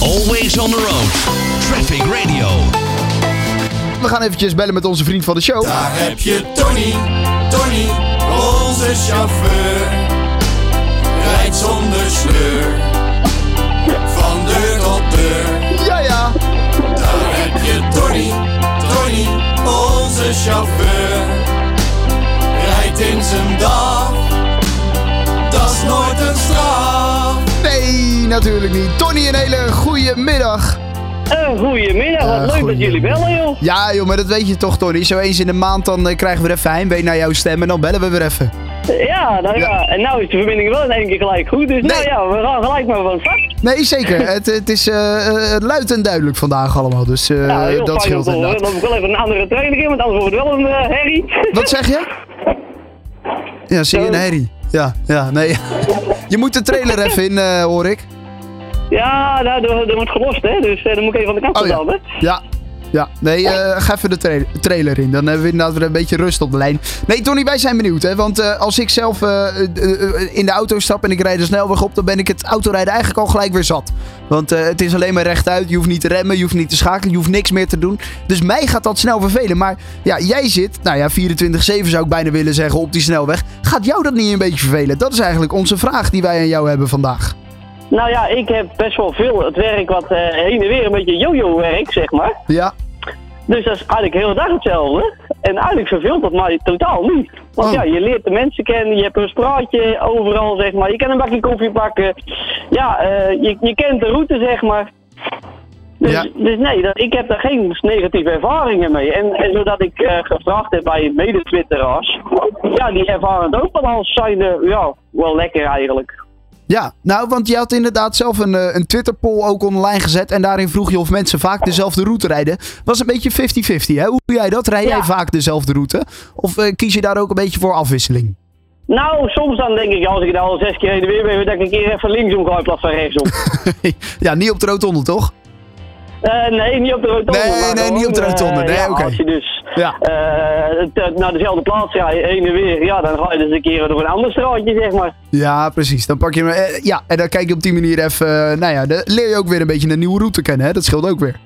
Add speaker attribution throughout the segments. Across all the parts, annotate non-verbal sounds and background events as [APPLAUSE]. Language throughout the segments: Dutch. Speaker 1: Always on the road. Traffic Radio.
Speaker 2: We gaan eventjes bellen met onze vriend van de show.
Speaker 3: Daar heb je Tony, Tony, onze chauffeur. Rijdt zonder sleur, van deur tot deur.
Speaker 2: Ja, ja.
Speaker 3: Daar heb je Tony, Tony, onze chauffeur. Rijdt in zijn dag, dat is nooit een straf.
Speaker 2: Nee, natuurlijk niet. Tony, een hele goede middag.
Speaker 4: Eh, goedemiddag,
Speaker 2: Eh,
Speaker 4: wat leuk
Speaker 2: goedemiddag.
Speaker 4: dat jullie bellen, joh.
Speaker 2: Ja, joh, maar dat weet je toch, Tony. Zo eens in de maand dan eh, krijgen we er even heimwee naar jouw stem en dan bellen we weer even.
Speaker 4: Ja, nou ja, en nou is de verbinding wel in één keer gelijk goed. Dus nou
Speaker 2: Nee. Eh,
Speaker 4: ja, we gaan gelijk maar van start.
Speaker 2: Nee, zeker.
Speaker 4: [LAUGHS]
Speaker 2: het, het is eh, eh, luid en duidelijk vandaag allemaal, dus eh,
Speaker 4: Nou, heel
Speaker 2: dat
Speaker 4: fijn om
Speaker 2: scheelt
Speaker 4: te horen.
Speaker 2: inderdaad.
Speaker 4: Dan heb ik wel even een andere trainer in, want anders wordt het wel een eh, herrie.
Speaker 2: Wat zeg je? Ja, zie je een herrie? Ja, ja, nee. [LAUGHS] je moet de trailer even in, eh, hoor ik.
Speaker 4: ja, nou, dat, dat wordt gelost, hè. Dus eh, dan moet ik even aan de kant
Speaker 2: Oh, ja.
Speaker 4: staan, hè.
Speaker 2: Ja. Ja, nee, eh, ga even de tra- trailer in. Dan hebben we inderdaad weer een beetje rust op de lijn. Nee, Tony, wij zijn benieuwd. Hè? Want eh, als ik zelf eh, eh, eh, in de auto stap en ik rijd de snelweg op, dan ben ik het autorijden eigenlijk al gelijk weer zat. Want eh, het is alleen maar rechtuit. Je hoeft niet te remmen, je hoeft niet te schakelen, je hoeft niks meer te doen. Dus mij gaat dat snel vervelen. Maar ja, jij zit, nou ja, 24-7 zou ik bijna willen zeggen, op die snelweg. Gaat jou dat niet een beetje vervelen? Dat is eigenlijk onze vraag die wij aan jou hebben vandaag.
Speaker 4: Nou ja, ik heb best wel veel het werk wat eh, heen en weer een beetje yo-yo-werk, zeg maar.
Speaker 2: Ja,
Speaker 4: Dus dat is eigenlijk heel de dag hetzelfde. En eigenlijk verveelt dat mij totaal niet. Want
Speaker 2: Oh.
Speaker 4: ja, je leert de mensen kennen, je hebt een straatje overal, zeg maar. Je kan een bakje koffie pakken. Ja, eh, je, je kent de route, zeg maar. Dus,
Speaker 2: Ja.
Speaker 4: dus nee, dat, ik heb daar geen negatieve ervaringen mee. En, en zodat ik eh, gevraagd heb bij mede-twitteraars, ja, die ervaren het ook wel als zijnde, ja, wel lekker eigenlijk.
Speaker 2: Ja, nou, want je had inderdaad zelf een, eh, een Twitter-poll ook online gezet. En daarin vroeg je of mensen vaak dezelfde route rijden. Was een beetje 50-50, hè? Hoe doe jij dat? Rij jij
Speaker 4: Ja.
Speaker 2: vaak dezelfde route? Of eh, kies je daar ook een beetje voor afwisseling? [LAUGHS]
Speaker 4: Nou, soms dan denk ik, als ik daar al zes keer heen en weer ben, dat ik een keer even linksom ga in plaats van rechtsom.
Speaker 2: ja, niet op de rotonde, toch?
Speaker 4: Eh, nee, niet op de rotonde.
Speaker 2: Nee,
Speaker 4: maar
Speaker 2: nee,
Speaker 4: gewoon,
Speaker 2: niet op de rotonde.
Speaker 4: eh,
Speaker 2: Nee,
Speaker 4: ja,
Speaker 2: oké.
Speaker 4: Als je dus
Speaker 2: Ja.
Speaker 4: eh, te- naar dezelfde plaats gaat, heen en weer, ja, dan ga je dus een keer door een ander straatje, zeg maar.
Speaker 2: Ja, precies. Dan pak je hem. eh, ja, en dan kijk je op die manier even. eh, nou ja, dan leer je ook weer een beetje een nieuwe route kennen, hè? Dat scheelt ook weer.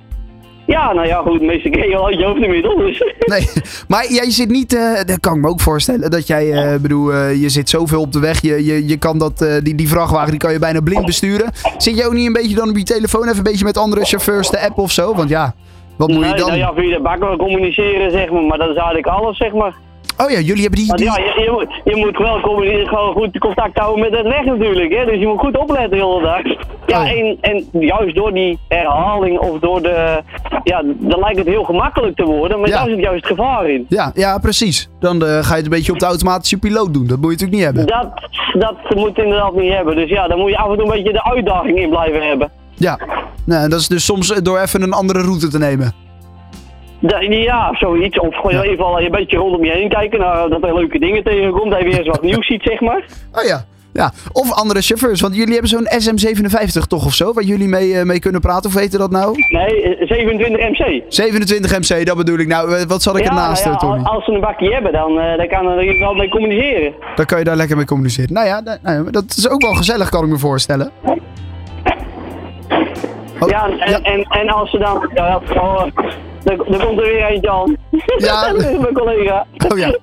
Speaker 4: Ja, nou ja, goed, meestal ken je al uit je hoofd inmiddels.
Speaker 2: [LAUGHS]
Speaker 4: Dus.
Speaker 2: Nee, maar jij zit niet. eh dat kan ik me ook voorstellen. Dat jij, eh, bedoel, eh, je zit zoveel op de weg. Je, je, je kan dat, eh, die, die vrachtwagen die kan je bijna blind besturen. Zit jij ook niet een beetje dan op je telefoon even een beetje met andere chauffeurs te appen of zo? Want ja, wat moet je
Speaker 4: Nee,
Speaker 2: dan?
Speaker 4: nou ja, via de bak wel communiceren, zeg maar, maar dat is eigenlijk alles, zeg maar.
Speaker 2: Oh ja, jullie hebben die.
Speaker 4: Want
Speaker 2: die...
Speaker 4: ja, je, je moet, je moet wel communiceren, gewoon goed contact houden met het weg natuurlijk, hè, dus je moet goed opletten de hele dag. Ja,
Speaker 2: Oh.
Speaker 4: en, en juist door die herhaling of door de, ja, dan lijkt het heel gemakkelijk te worden, maar
Speaker 2: Ja.
Speaker 4: daar zit juist het gevaar in.
Speaker 2: Ja, ja, precies. Dan eh, ga je het een beetje op de automatische piloot doen. Dat moet je natuurlijk niet hebben.
Speaker 4: Dat, dat moet inderdaad niet hebben. Dus ja, daar moet je af en toe een beetje de uitdaging in blijven hebben.
Speaker 2: Ja. Nou, en dat is dus soms eh, door even een andere route te nemen.
Speaker 4: Da- ja, zoiets. Of gewoon in ieder geval een beetje rondom je heen kijken. Nou, dat er leuke dingen tegenkomt. Dat je weer eens wat nieuws ziet, zeg maar.
Speaker 2: Oh ja. Ja, of andere chauffeurs. Want jullie hebben zo'n SM57 toch of zo? Waar jullie mee, eh, mee kunnen praten. Of weten dat nou?
Speaker 4: Nee, eh, 27 MC.
Speaker 2: 27 MC, dat bedoel ik. Nou, eh, wat zal ik ernaast,
Speaker 4: nou
Speaker 2: eh,
Speaker 4: al-
Speaker 2: Tony?
Speaker 4: als ze een bakje hebben, dan, eh, dan kan er in ieder geval mee communiceren.
Speaker 2: Dan kan je daar lekker mee communiceren. Nou ja, da- nou ja, maar dat is ook wel gezellig, kan ik me voorstellen. Oh,
Speaker 4: ja, en,
Speaker 2: ja.
Speaker 4: En, en als ze dan... Ja, oh, dan, dan komt er weer eentje aan.
Speaker 2: Ja.
Speaker 4: [LAUGHS] Mijn collega.
Speaker 2: Oh ja.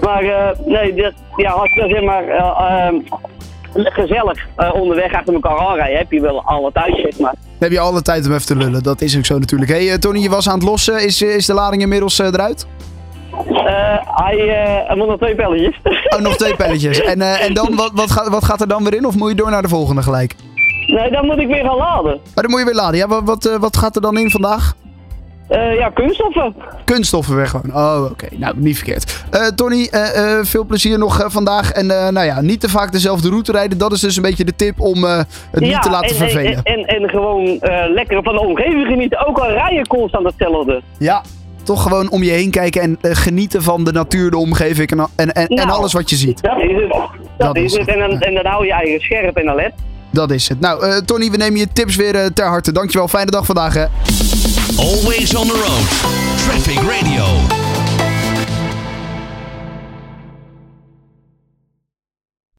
Speaker 4: Maar eh, nee, dat, ja, als je dan zeg maar eh, ehm, gezellig eh, onderweg achter elkaar aanrijden, heb je wel alle tijd, zeg maar.
Speaker 2: Dan heb je alle tijd om even te lullen. Dat is ook zo natuurlijk. hey, eh, Tony, je was aan het lossen. Is, eh, is de lading inmiddels eh, eruit?
Speaker 4: Eh, hij, eh, hij moet nog twee pelletjes.
Speaker 2: Oh, nog twee pelletjes. En, eh, en dan, wat, wat, gaat, wat gaat er dan weer in? Of moet je door naar de volgende gelijk?
Speaker 4: [LAUGHS] nee, dan moet ik weer gaan laden.
Speaker 2: Maar dan moet je weer laden. Ja, wat, wat, eh, wat gaat er dan in vandaag?
Speaker 4: Eh, ja, kunststoffen.
Speaker 2: Kunststoffen weer gewoon. Oh, oké. Nou, niet verkeerd. Eh, Tony, eh, eh, veel plezier nog eh, vandaag. En eh, nou ja, niet te vaak dezelfde route rijden. Dat is dus een beetje de tip om eh, het niet
Speaker 4: ja,
Speaker 2: te laten
Speaker 4: en, en-
Speaker 2: vervelen.
Speaker 4: En, en, en gewoon eh, lekker van de omgeving genieten. Ook al rij je constant hetzelfde.
Speaker 2: Ja, toch gewoon om je heen kijken en eh, genieten van de natuur, de omgeving en, en, en, en
Speaker 4: Nou.
Speaker 2: alles wat je ziet.
Speaker 4: Dat is het. Dat,
Speaker 2: Dat
Speaker 4: is,
Speaker 2: is
Speaker 4: het.
Speaker 2: het,
Speaker 4: En dan,
Speaker 2: ja.
Speaker 4: en dan hou je eigen scherp en alert.
Speaker 2: Dat is het. Nou, eh, Tony, we nemen je tips weer eh, ter harte. Dankjewel. Fijne dag vandaag. Hè.
Speaker 1: Always on the road. Traffic Radio.